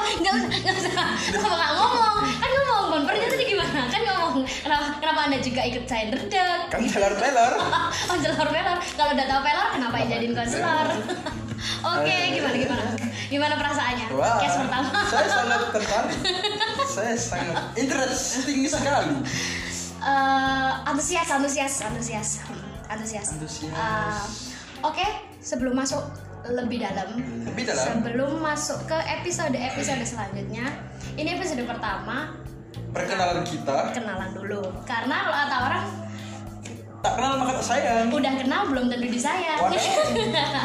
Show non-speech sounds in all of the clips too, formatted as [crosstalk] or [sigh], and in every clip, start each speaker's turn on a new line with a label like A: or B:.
A: nggak usah nggak bakal ngomong kan ngomong konvernya tadi gimana kan ngomong kenapa kenapa anda juga ikut cair derdek
B: Kan teler-teler.
A: oh jelor pelor kalau udah tahu pelor kenapa yang jadiin konselor oke gimana gimana gimana perasaannya
B: Wah,
A: case pertama
B: saya sangat tertarik. saya sangat interesting sekali.
A: Eh, antusias antusias antusias antusias,
B: Antusias.
A: Eh, oke sebelum masuk lebih dalam
B: Lebih dalam.
A: sebelum masuk ke episode episode selanjutnya ini episode pertama
B: Perkenalan kita
A: kenalan dulu karena kalau kata orang
B: tak kenal maka tak sayang.
A: udah kenal belum tentu disayang [laughs]
B: Waduh.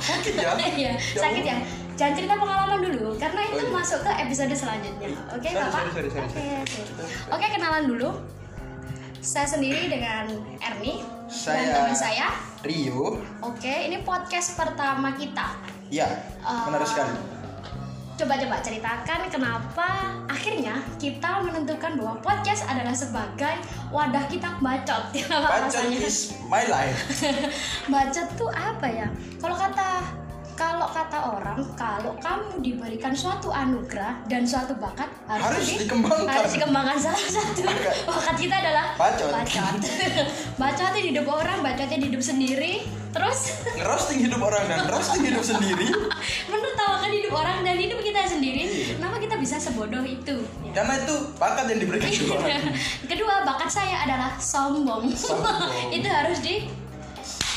B: Sakit ya?
A: Iya, sakit ya jangan cerita pengalaman dulu karena itu
B: Oh, iya.
A: masuk ke episode selanjutnya oke
B: Sorry,
A: bapak
B: sorry, sorry,
A: oke
B: sorry.
A: oke. Oke, kenalan dulu saya sendiri dengan Erni dan
B: Saya-
A: teman saya
B: Rio,
A: oke ini podcast pertama kita
B: ya, benar
A: Eh,
B: sekali.
A: coba-coba ceritakan kenapa akhirnya kita menentukan bahwa podcast adalah sebagai wadah kita bacot [laughs] ya Pak,
B: Bacot
A: rasanya.
B: is my life.
A: [laughs] Bacot tuh apa ya? Kalau kata kalau kata orang, kalau kamu diberikan suatu anugerah dan suatu bakat harus,
B: Harus
A: di-
B: dikembangkan.
A: Harus dikembangkan [laughs] salah satu. Bakat kita adalah
B: Bacot.
A: Bacot. [laughs] Bacotnya di hidup orang, bacotnya di hidup sendiri. Terus [laughs]
B: Ngerosting hidup orang dan roasting hidup sendiri.
A: menertawakan hidup orang dan hidup kita
B: Iya.
A: sendiri. Kenapa kita bisa sebodoh itu? Ya.
B: Karena itu bakat yang diberikan
A: Iya.
B: Tuhan.
A: [laughs] Kedua, bakat saya adalah sombong.
B: Sombong.
A: [laughs] itu harus di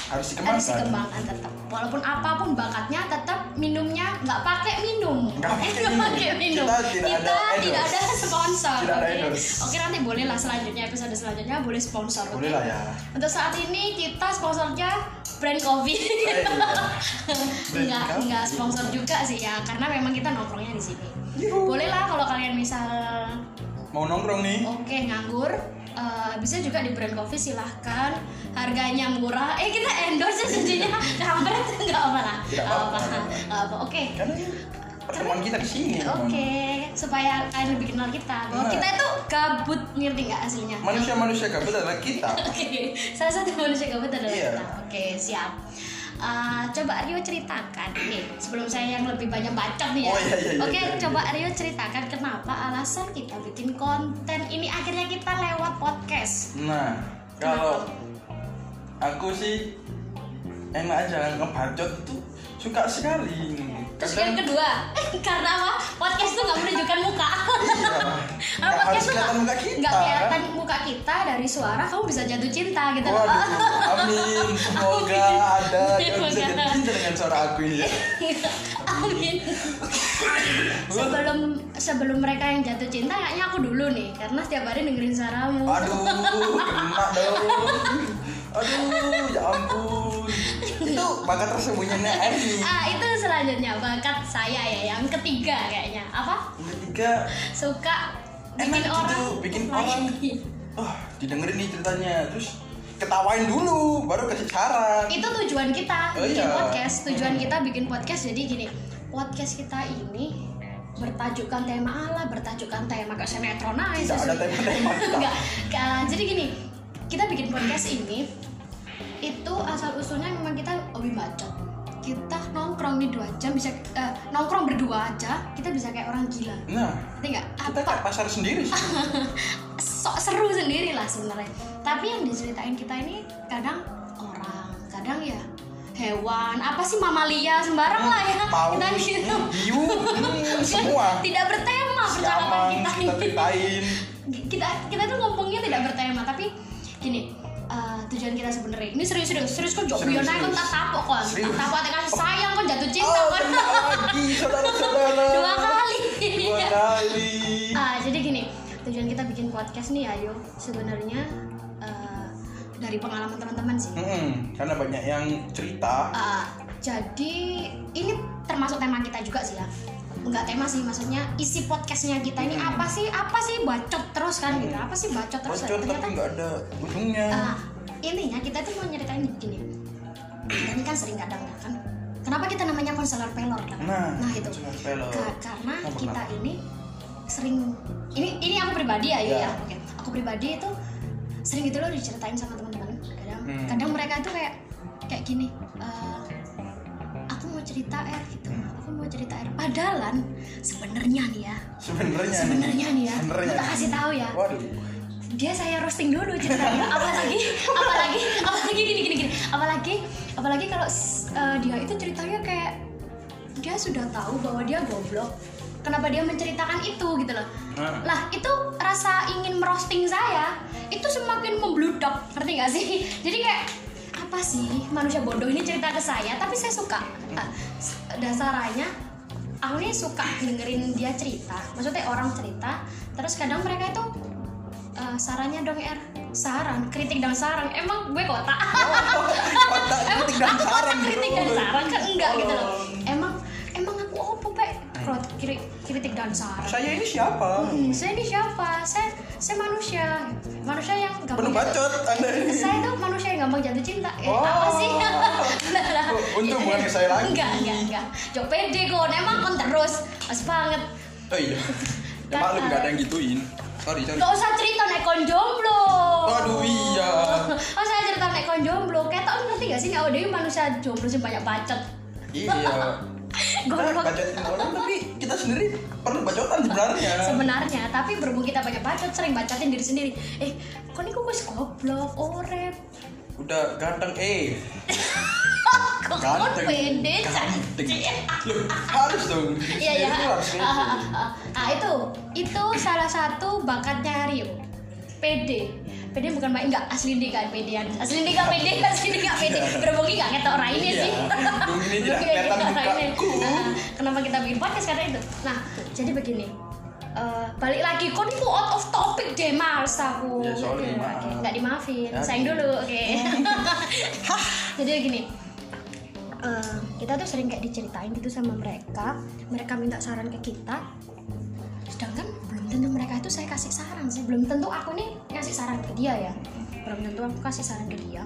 B: Harus
A: harus
B: dikembangkan.
A: dikembangkan tetap. Walaupun apapun bakatnya tetap minumnya nggak pakai minum.
B: Nggak pakai
A: Nggak
B: minum.
A: pakai minum.
B: Kita tidak ada endorse.
A: tidak ada sponsor.
B: Tidak ada
A: oke.
B: endorse.
A: Oke, nanti boleh lah selanjutnya episode selanjutnya boleh sponsor. oke?
B: Boleh lah ya.
A: Untuk saat ini kita sponsornya brand kopi.
B: Eh,
A: [laughs]
B: Brand
A: Enggak,
B: kopi.
A: enggak sponsor juga sih ya, karena memang kita nongkrongnya di sini.
B: Yuhu.
A: Boleh lah kalau kalian misal
B: Mau nongkrong nih?
A: oke nganggur eh, bisa juga di brand coffee silahkan harganya murah eh kita endorse ya jadinya kampret nggak apa lah
B: Tidak
A: nggak
B: apa-apa.
A: apa nggak apa oke
B: Karena ini pertemuan kita di sini.
A: oke
B: teman.
A: supaya kalian lebih kenal kita bahwa
B: Nah.
A: kita itu gabut ngerti nggak aslinya
B: Manusia-manusia gabut adalah kita.
A: Oke, salah satu manusia gabut adalah
B: Iya.
A: kita. Oke, siap. Eh, coba Rio ceritakan nih sebelum saya yang lebih banyak bacot nih ya.
B: Oh, iya, iya, iya,
A: Oke,
B: iya, iya.
A: coba Rio ceritakan kenapa alasan kita bikin konten ini akhirnya kita lewat podcast.
B: Nah, kalau aku sih enak aja ngebacot itu suka sekali.
A: Terus gitu. yang
B: Nah.
A: kedua, [laughs] karena apa? Podcast tuh nggak menunjukkan muka. [laughs]
B: iya,
A: Karena
B: nggak harus
A: tuh
B: kelihatan muka kita. kan?
A: nggak kelihatan muka kita dari suara kamu bisa jatuh cinta gitu. loh.
B: Waduh, amin.
A: [laughs]
B: Semoga ada yang bisa
A: Gitu. Iya, Semoga.
B: jadi cinta dengan suara aku ini. ya.
A: [laughs]
B: [laughs]
A: Amin. sebelum sebelum mereka yang jatuh cinta kayaknya aku dulu nih karena setiap hari dengerin suaramu.
B: Aduh, kena dong. Aduh, ya ampun. Itu bakat tersembunyinya Eri.
A: Ah itu selanjutnya bakat saya ya yang ketiga kayaknya apa
B: Yang Ketiga,
A: suka bikin
B: Enak gitu,
A: orang
B: bikin
A: lain. [laughs]
B: oh, didengerin nih ceritanya, terus ketawain dulu, baru kasih saran.
A: itu tujuan kita
B: Oh,
A: bikin
B: iya.
A: podcast tujuan kita bikin podcast jadi gini podcast kita ini bertajukan tema ala bertajukan tema ke sinetron aja
B: Tidak ada
A: sih. [laughs]
B: tema-tema kita.
A: Enggak. Ka- jadi gini kita bikin podcast ini itu asal usulnya memang kita hobi bacot kita nongkrong nih dua jam bisa eh, nongkrong berdua aja kita bisa kayak orang gila
B: Nah,
A: ngerti nggak
B: kita kayak pasar sendiri sih.
A: Ah, sok seru sendiri lah sebenarnya tapi yang diceritain kita ini kadang orang kadang ya hewan apa sih mamalia sembarang lah ya
B: Tahu,
A: kita gitu
B: hmm, hiu,
A: [laughs]
B: hmm, [laughs] semua.
A: tidak bertema percakapan
B: Siaman,
A: kita
B: kita
A: ini
B: [laughs] ceritain.
A: kita kita tuh ngomongnya tidak bertema tapi gini eh, tujuan kita sebenarnya ini serius serius serius kok jok
B: Serius,
A: biar naik kan
B: serius.
A: tak tapok kan tak
B: Serius.
A: tapok tak kasih sayang kan jatuh [laughs] cinta
B: Oh,
A: kan
B: kena lagi, saudara-saudara.
A: [laughs] dua kali
B: Dua kali.
A: [laughs] Ah, jadi gini, tujuan kita bikin podcast nih ayo sebenarnya eh, dari pengalaman teman-teman sih.
B: Mm-mm, karena banyak yang cerita.
A: Ah, jadi ini termasuk tema kita juga sih ya. Enggak tema sih, maksudnya isi podcastnya kita ini apa sih? Apa sih bacot terus kan gitu? Apa sih bacot terus?
B: Bocor tapi nggak ada ujungnya.
A: Ah, intinya kita tuh mau nyeritain gini kita ini kan sering kadang kan kenapa kita namanya konselor pelor kan?
B: Nah,
A: itu
B: konselor pelor.
A: Ka- karena
B: Kenapa,
A: kita ini sering ini ini aku pribadi ya Yu,
B: Ya.
A: ya Oke. aku pribadi itu sering gitu loh diceritain sama teman-teman kadang
B: Hmm.
A: kadang mereka itu kayak kayak gini eh, aku mau cerita air gitu
B: Hmm.
A: aku mau cerita air padahalan sebenarnya nih ya
B: Sebenarnya. nih.
A: sebenarnya nih ya aku
B: Sebenarnya.
A: tak kasih tahu ya
B: Waduh.
A: dia saya roasting dulu ceritanya apalagi apalagi apalagi gini gini gini apalagi apalagi kalau s- eh, dia itu ceritanya kayak dia sudah tahu bahwa dia goblok kenapa dia menceritakan itu gitu loh
B: Nah.
A: lah itu rasa ingin merosting saya itu semakin membludak ngerti gak sih [laughs] jadi kayak apa sih manusia bodoh ini cerita ke saya tapi saya suka Ah, s- dasarnya aku nih suka dengerin dia cerita maksudnya orang cerita terus kadang mereka itu eh, sarannya dong er saran kritik dan saran emang gue kotak [laughs]
B: Kotak kritik dan
A: aku
B: saran.
A: kotak kritik dan
B: bro.
A: saran kan enggak gitu loh
B: iya. Oh.
A: emang emang aku apa pak kritik dan saran
B: Saya ini siapa?
A: Hmm, saya ini siapa? Saya saya manusia, manusia yang
B: Penuh
A: gampang. jatuh-
B: bacot Anda ini.
A: Saya tuh manusia yang gampang jatuh cinta. Eh,
B: Oh.
A: apa sih? [laughs] Lah, lah.
B: Untung bukan ke saya lagi.
A: Enggak, enggak, enggak. Jok pede kon, emang kon terus. Pas banget.
B: Oh iya. Ya
A: Kan,
B: maklum gak ada
A: eh.
B: yang gituin. Sorry, sorry.
A: Gak usah cerita nek kon jomblo.
B: Aduh,
A: [laughs]
B: iya.
A: Gak usah cerita nek kon jomblo. Ketok ngerti gak sih nek awake dhewe manusia jomblo sing banyak bacot.
B: Iya. Kita
A: [laughs] Goblok.
B: bacotin orang kan, tapi kita sendiri perlu bacotan sebenarnya.
A: [laughs] sebenarnya tapi berhubung kita banyak bacot sering bacotin diri sendiri eh kon iku wis goblok orep
B: Udah ganteng eh.
A: Ah, kok kon pede
B: Ganteng.
A: cantik
B: Loh, harus dong.
A: Iya iya.
B: Itu harus gitu. pede.
A: [laughs] Ah itu itu salah satu bakatnya Rio. PD. PD bukan main enggak asli dia enggak pedean. Asli dia enggak pede, [laughs] asli dia enggak pede. Berbongi enggak ngetok raine [laughs]
B: Iya.
A: sih.
B: Dong, ini tidak
A: Berbongi
B: kelihatan
A: ngetok raine.
B: mukaku.
A: Ah, Kenapa kita bikin podcast karena itu. Nah, jadi begini. Eh, balik lagi kon itu out of topic deh males aku Iya,
B: Ya, sorry,
A: Oke,
B: maaf.
A: nggak dimaafin
B: Ya.
A: sayang dulu oke jadi gini eh, kita tuh sering kayak diceritain gitu sama mereka mereka minta saran ke kita sedangkan belum tentu mereka itu saya kasih saran sih belum tentu aku nih ngasih saran ke dia ya belum tentu aku kasih saran ke dia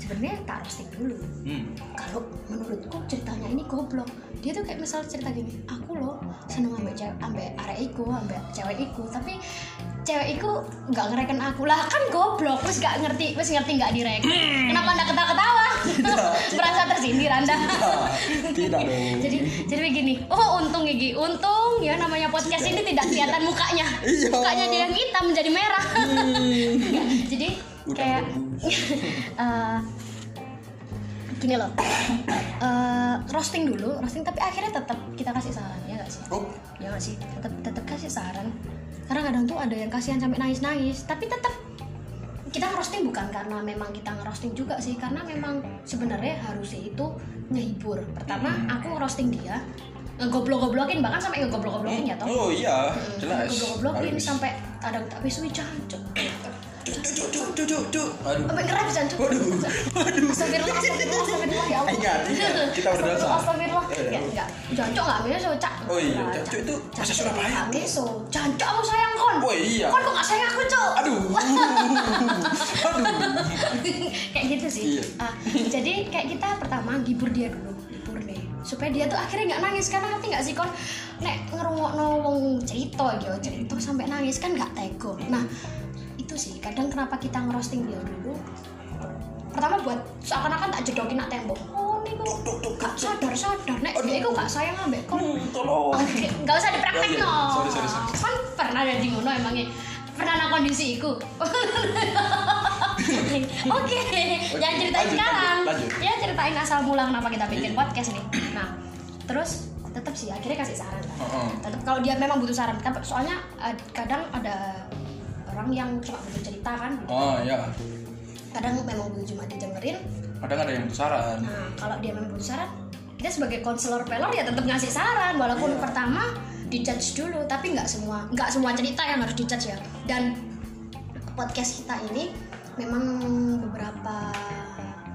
A: sebenarnya tak roasting dulu
B: Hmm.
A: kalau menurutku ceritanya ini goblok dia tuh kayak misal cerita gini aku loh seneng ambek cewek ambek arek iku ambek cewek iku tapi cewek iku nggak ngereken aku lah kan goblok terus nggak ngerti terus ngerti nggak direken
B: Hmm.
A: kenapa anda ketawa ketawa [laughs] merasa tersindir anda
B: Tidak dong.
A: [laughs] jadi jadi begini oh untung gigi untung ya namanya podcast ini tidak kelihatan mukanya
B: Iya. Hmm.
A: mukanya dia yang hitam menjadi merah [laughs] jadi
B: Udah
A: kayak eh, gini loh Eh, roasting dulu roasting tapi akhirnya tetap kita kasih saran ya gak sih
B: Oh,
A: ya gak sih tetap tetap kasih saran karena kadang tuh ada yang kasihan sampai nangis nangis tapi tetap kita ngerosting bukan karena memang kita ngerosting juga sih karena memang sebenarnya harusnya itu ngehibur pertama
B: Hmm.
A: aku ngerosting dia ngegoblok-goblokin bahkan sampai ngegoblok-goblokin ya toh
B: Oh iya, jelas.
A: ngegoblok-goblokin
B: Harus.
A: sampai kadang tak bisa cancuk
B: Cuk, cuk, cuk, cuk, cuk. Aduh.
A: sampai ngerap cancuk
B: Waduh.
A: Astagfirullah, astagfirullah, astagfirullah, ya Allah.
B: Ingat, ingat. Kita udah dosa.
A: Astagfirullah,
B: Ya, ya.
A: astagfirullah. Enggak, jancok enggak bisa cak.
B: Oh iya, jancok itu bahasa Surabaya.
A: Enggak bisa. Jancok aku sayang kon.
B: Oh iya.
A: Kon kok enggak sayang aku, Cuk?
B: Aduh. Aduh.
A: [laughs] kayak gitu sih.
B: Iya.
A: Ah, jadi kayak kita pertama hibur dia dulu, hibur deh. Supaya dia tuh akhirnya nggak nangis karena ngerti nggak sih kon nek ngerungokno wong cerita gitu cerita sampai nangis kan nggak tego. Nah, itu sih kadang kenapa kita ngerosting dia dulu pertama buat seakan-akan tak jedokin nak tembok oh niku
B: Duk, duk,
A: gak sadar sadar nek
B: Aduh.
A: dia iku gak sayang ambek kon
B: Hmm, Tolong.
A: Oke, nggak usah dipraktek
B: Oh, iya. Sorry, sorry, sorry.
A: Kan pernah ada di ngono emangnya pernah nang kondisi
B: [laughs]
A: iku. Oke, jangan ceritain
B: lanjut,
A: sekarang.
B: lanjut, lanjut.
A: Ya ceritain asal mulang kenapa kita bikin
B: Iya.
A: podcast nih. Nah, terus tetap sih akhirnya kasih saran kan.
B: Heeh.
A: Tetap kalau dia memang butuh saran, kan soalnya eh, kadang ada orang yang cuma butuh cerita kan.
B: Oh iya.
A: Kadang memang butuh cuma didengerin.
B: Kadang ada yang butuh saran.
A: Nah, kalau dia memang butuh saran, kita sebagai konselor pelor ya tetap ngasih saran
B: Iya.
A: walaupun pertama dijudge dulu, tapi nggak semua nggak semua cerita yang harus dijudge ya. Dan podcast kita ini memang beberapa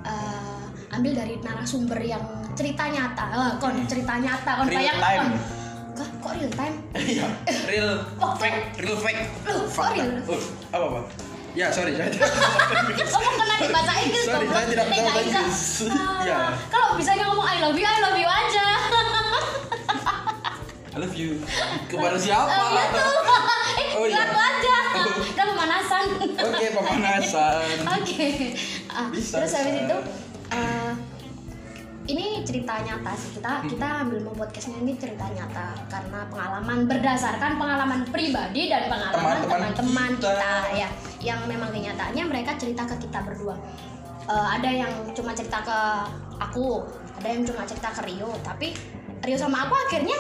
A: eh, ambil dari narasumber yang cerita nyata. Wah, kon cerita nyata kon
B: Iya. Real
A: bayang
B: time.
A: kon. Kok, kok real time?
B: Iya. Real
A: Oh,
B: fact, real fact.
A: Loh, kok
B: Fakta.
A: real?
B: Oh, apa apa? Ya, sorry. [laughs] Saya
A: [laughs] Ngomong kena di bahasa Inggris
B: Sorry,
A: goblok.
B: saya tidak
A: Eh,
B: tahu
A: nggak bisa.
B: bahasa Inggris.
A: Ah,
B: Ya.
A: Kalau bisa ngomong I love you, I love you aja. [laughs]
B: I love you. Kepada siapa?
A: Eh, iya tuh. [laughs] eh,
B: Oh, iya.
A: satu aja.
B: [laughs]
A: Kita pemanasan.
B: Oke, pemanasan.
A: [laughs] Oke. Ah,
B: Bisa,
A: terus habis
B: bisa.
A: itu eh, ini cerita nyata sih
B: Hmm.
A: kita kita ambil mau podcastnya ini cerita nyata karena pengalaman berdasarkan pengalaman pribadi dan pengalaman
B: Teman-teman
A: teman-teman
B: kita.
A: kita. ya yang memang kenyataannya mereka cerita ke kita berdua Eh, ada yang cuma cerita ke aku ada yang cuma cerita ke Rio tapi Rio sama aku akhirnya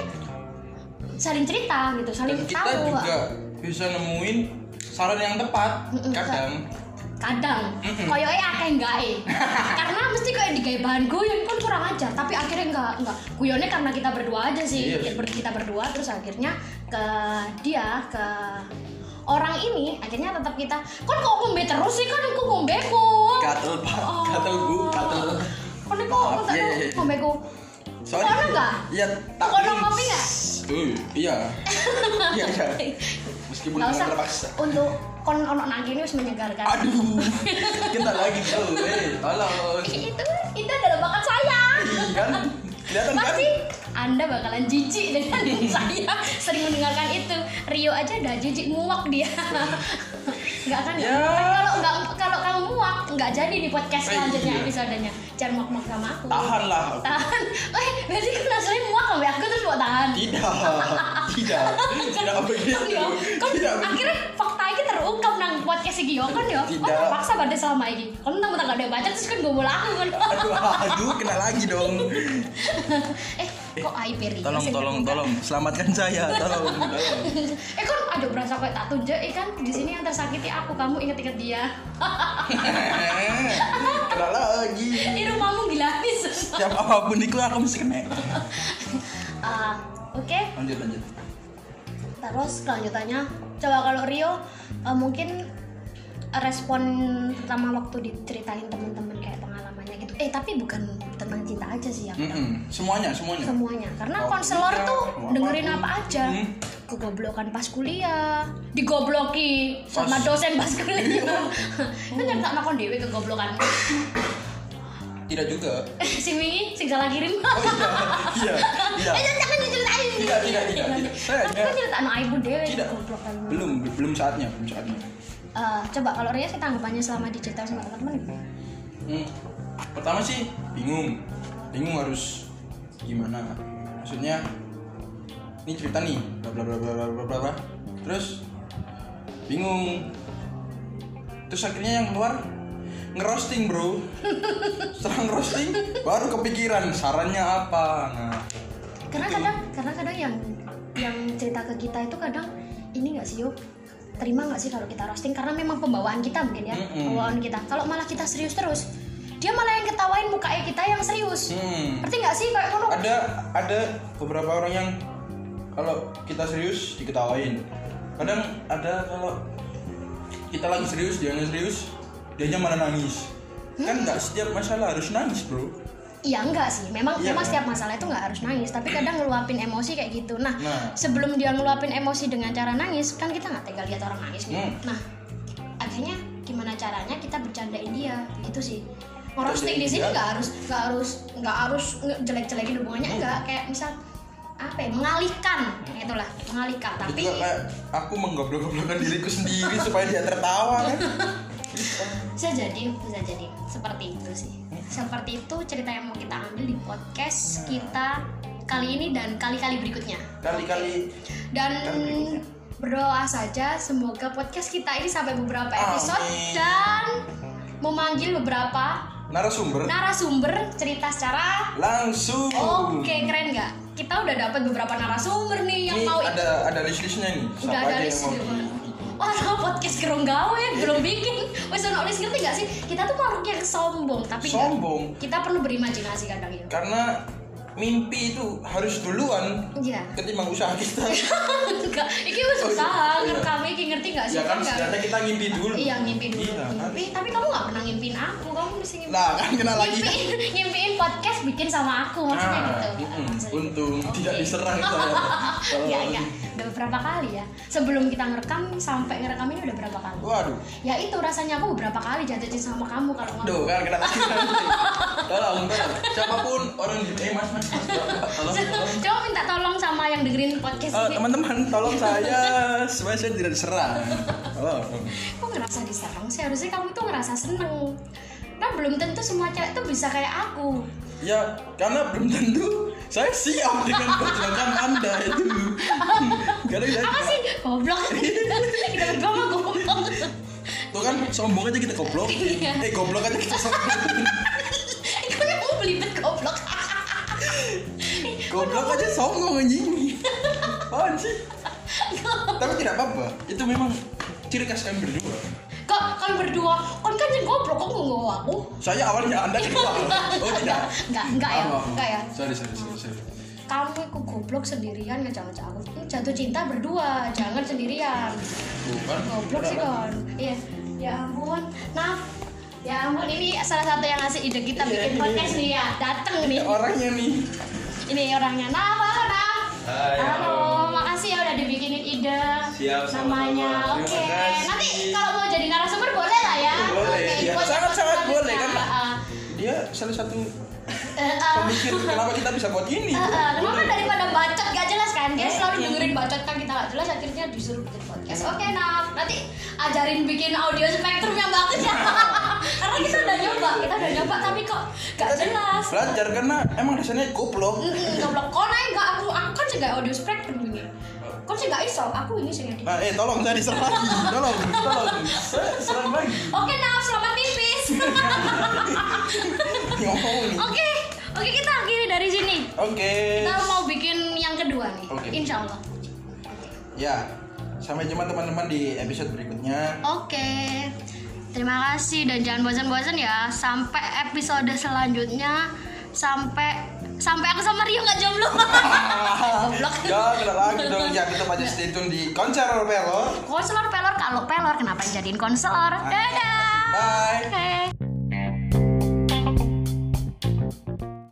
A: saling cerita gitu saling
B: Dan kita
A: tahu
B: juga bisa nemuin saran yang tepat
A: Mm-mm,
B: kadang
A: kadang
B: Mm-mm.
A: koyoke akeh
B: [laughs]
A: gae karena mesti kayak digawe bahan guyon pun kurang aja tapi akhirnya enggak enggak guyonnya karena kita berdua aja sih
B: Iya
A: Kita
B: sih.
A: ber- kita berdua terus akhirnya ke dia ke orang ini akhirnya tetap kita kan kok ngombe terus sih kan aku ngombe ku
B: gatel pak
A: Oh.
B: gatel bu gatel
A: kan aku ngombe
B: Iya, iya, iya.
A: ngombe ku
B: Sorry.
A: Kono nggak?
B: Iya, tak.
A: Kono kopi nggak?
B: Eh, iya. Iya,
A: [laughs]
B: iya. Meskipun
A: nggak
B: dengan
A: usah
B: terpaksa.
A: untuk kon ono nang kene wis menyegarkan
B: Aduh. Kita lagi bro. Eh, tolong.
A: itu itu adalah bakat saya
B: Kan kelihatan kan?
A: pasti anda bakalan jijik dengan [laughs] saya sering mendengarkan itu Rio aja udah jijik muak dia [laughs] nggak kan
B: Ya.
A: Kan kalau nggak kalau kamu muak nggak jadi di podcast
B: Eh,
A: selanjutnya
B: iya.
A: episodenya jangan muak muak sama aku
B: Tahanlah.
A: tahan eh berarti kan aslinya muak sama aku terus mau tahan
B: Tidak. Tidak. Tidak
A: [laughs] Kan
B: begitu.
A: yo, kan
B: Tidak begitu.
A: akhirnya fakta ini terungkap nang podcast iki yo kan yo. Kan
B: Tidak.
A: terpaksa berarti selama ini. Kan nang tak ada baca terus kan gue mau laku kan. [laughs]
B: Aduh, aduh, kena lagi dong.
A: eh kok aib ya, Rio?
B: Tolong,
A: Sing
B: tolong,
A: terbuka.
B: tolong. Selamatkan saya. Tolong, tolong.
A: [laughs] eh kan ada berasa kayak tak tunjuk eh kan di sini yang tersakiti aku kamu inget-inget dia
B: Eh, Kena lagi.
A: di rumahmu gila habis
B: Siap apapun itu aku mesti kena.
A: [laughs] Ah, oke
B: Lanjut, lanjut.
A: terus kelanjutannya coba kalau Rio eh, mungkin respon pertama waktu diceritain teman-teman kayak pengalamannya gitu eh tapi bukan tentang cinta aja sih ya
B: Mm-mm. Semuanya, semuanya.
A: semuanya karena
B: Oh,
A: konselor
B: iya.
A: tuh
B: Mau
A: dengerin
B: apapun.
A: apa aja
B: Hmm.
A: kegoblokan pas kuliah digobloki sama
B: Pas-
A: dosen pas kuliah
B: [laughs]
A: kan yang tak nakon dewe kegoblokan
B: Tidak
A: [laughs]
B: juga.
A: Eh, si Mingi sing salah kirim
B: Oh iya, iya,
A: [laughs] Eh,
B: iya.
A: jangan diceritain
B: Tidak, tidak, tidak, tidak.
A: Tapi
B: Saya
A: kan
B: hanya-
A: cerita anak ibu dewe
B: Tidak.
A: goblok kan.
B: Belum, belum saatnya, belum saatnya.
A: Eh, coba kalau Ria sih tanggapannya selama diceritain sama teman-teman
B: Hmm. Pertama sih bingung, bingung harus gimana. Maksudnya ini cerita nih, bla bla bla bla bla bla bla. bla. Terus bingung. Terus akhirnya yang keluar
A: [laughs]
B: ngerosting bro setelah ngerosting baru kepikiran sarannya apa nah
A: karena kadang karena kadang yang yang cerita ke kita itu kadang ini nggak sih yuk terima nggak sih kalau kita roasting karena memang pembawaan kita mungkin ya
B: Mm-mm.
A: pembawaan kita kalau malah kita serius terus dia malah yang ketawain mukanya kita yang serius
B: hmm.
A: ngerti nggak sih kayak ngono
B: ada ada beberapa orang yang kalau kita serius diketawain kadang ada kalau kita lagi serius dia nggak serius dianya malah nangis kan nggak setiap masalah harus nangis bro
A: Iya enggak sih, memang
B: Iya,
A: memang
B: kan?
A: setiap masalah itu nggak harus nangis, tapi kadang ngeluapin emosi kayak gitu. Nah,
B: Nah.
A: sebelum dia ngeluapin emosi dengan cara nangis, kan kita nggak tega lihat orang nangis gitu.
B: Hmm.
A: Nah, akhirnya gimana caranya kita bercandain dia, gitu sih. Ngerosting di sini
B: Bercandain dia.
A: nggak harus nggak harus nggak harus jelek-jelekin hubungannya
B: Hmm.
A: enggak, kayak misal apa ya mengalihkan itulah mengalihkan
B: itu
A: tapi
B: juga kayak aku menggoblok-goblokkan diriku sendiri supaya dia tertawa kan
A: bisa jadi bisa jadi seperti itu sih seperti itu cerita yang mau kita ambil di podcast kita kali ini dan kali-kali berikutnya
B: kali-kali
A: dan
B: Kan berikutnya.
A: berdoa saja semoga podcast kita ini sampai beberapa episode
B: Amin.
A: dan memanggil beberapa
B: narasumber
A: Nah. narasumber cerita secara
B: langsung
A: oke keren nggak kita udah dapat beberapa narasumber nih yang
B: ini
A: mau ikut.
B: ada ada list listnya nih
A: udah
B: siapa
A: ada
B: aja yang
A: list
B: mau [laughs]
A: gitu.
B: di-
A: Wah, sama podcast gerung gawe belum bikin. Wes ono list ngerti nggak sih? Kita tuh makhluk yang sombong, tapi nggak-
B: sombong
A: kita perlu berimajinasi kadang ya.
B: karena mimpi itu harus duluan
A: [laughs] Iya.
B: ketimbang usaha kita
A: Enggak, iki wis
B: Oh, iya.
A: usaha
B: Oh, iya.
A: ngerekam iki ngerti nggak sih?
B: ya kan
A: Nggak-
B: setidaknya kita ngimpi dulu
A: Iya ngimpi dulu.
B: Iya, kan?
A: ngimpi. Tapi kamu nggak pernah ngimpiin aku. Kamu mesti ngimpi.
B: lah kan kena lagi Ah,
A: ngimpiin, [laughs] ngimpiin podcast bikin sama aku maksudnya gitu.
B: Nah,
A: [laughs]
B: mm-mm.
A: Maksudnya.
B: untung
A: Oke.
B: tidak diserang
A: [laughs]
B: saya Kalau-
A: Iya
B: [laughs]
A: iya. Udah beberapa kali ya. Sebelum kita ngerekam sampai ngerekam ini udah berapa kali?
B: waduh
A: Ya itu rasanya aku beberapa kali jatuh cinta sama kamu kalau ngomong.
B: Duh,
A: [laughs]
B: kan kena lagi tolong tolong siapapun orang di eh mas mas mas tolong tolong
A: [laughs] Coba minta tolong sama yang dengerin podcast
B: Eh,
A: ini.
B: teman-teman tolong saya supaya saya tidak diserang tolong
A: Kok ngerasa diserang sih? Harusnya kamu tuh ngerasa seneng. Nah belum tentu semua cewek tuh bisa kayak aku.
B: Ya, karena belum tentu saya siap dengan perjuangan Anda itu. [laughs] Karena saya
A: apa sih
B: [laughs]
A: goblok kita berdua mah goblok [laughs]
B: Tuh kan sombong aja kita goblok.
A: Iya.
B: Eh goblok aja kita sombong.
A: kau yang mau belibet goblok [laughs]
B: goblok aja sombong [laughs] anjing. Apaan sih? Tapi tidak apa-apa. Itu memang ciri khas kami berdua.
A: kok kan berdua kan kan yang goblok kok nggak ngomong aku
B: Saya awalnya
A: [laughs]
B: Anda kedua. Oh tidak.
A: Enggak, enggak ya,
B: Apa, apa?
A: enggak ya.
B: Sorry, sorry, sorry, sorry.
A: kamu ikut goblok sendirian ngejak-ngejak aku Ini jatuh cinta berdua jangan sendirian
B: Bukan.
A: goblok sih
B: berapa?
A: kon iya ya ampun nah ya ampun ini salah satu yang ngasih ide kita
B: Iya,
A: bikin
B: Oh. iya.
A: podcast nih ya dateng nih
B: Orangnya nih.
A: ini orangnya nah halo nah
C: Hai,
A: halo
C: halo.
A: makasih ya udah dibikinin ide
C: Siap, sama-sama.
A: namanya oke
C: Terima kasih.
A: nanti kalau mau jadi narasumber boleh lah ya
B: Boleh, iya.
A: podcast-
B: Sangat-sangat
A: podcast
B: boleh, kan?
A: bisa.
B: Dia salah satu
A: Eh, eh, eh,
B: pemikir kenapa kita bisa buat ini.
A: Eh, eh, Cuma kan daripada bacot gak jelas kan Dia selalu
B: Iya.
A: dengerin bacot kan kita gak jelas Akhirnya disuruh bikin podcast Oke Naf Nanti ajarin bikin audio spektrum yang bagus
B: [laughs]
A: ya Karena kita udah nyoba Kita udah nyoba tapi kok gak jelas
B: Iya kan
A: Hmm.
B: Belajar karena emang dasarnya goblok.
A: Mm-mm, Goblok kok naik gak aku Aku kan sih gak audio spektrum ini Kok sih gak iso Aku ini sih ngedit.
B: Nah, eh tolong saya diserang lagi. Tolong, tolong. Saya diserang lagi.
A: [laughs] Oke Naf selamat
B: [laughs]
A: pipis
B: Ngomong nih.
A: Oke Oke kita akhiri dari sini
B: Oke.
A: Kita mau bikin yang kedua nih
B: Oke.
A: Insya Allah
B: Ya, sampai jumpa teman-teman di episode berikutnya.
A: Oke, terima kasih dan jangan bosan-bosan ya. Sampai episode selanjutnya, sampai sampai aku sama Rio nggak
B: [laughs]
A: jomblo. Goblok.
B: Ya, kita lagi
A: [laughs]
B: dong. Ya, kita pasti stay tune di konser Orpelo. Nah,
A: Konselor pelor kalau pelor kenapa dijadiin konselor? Dadah.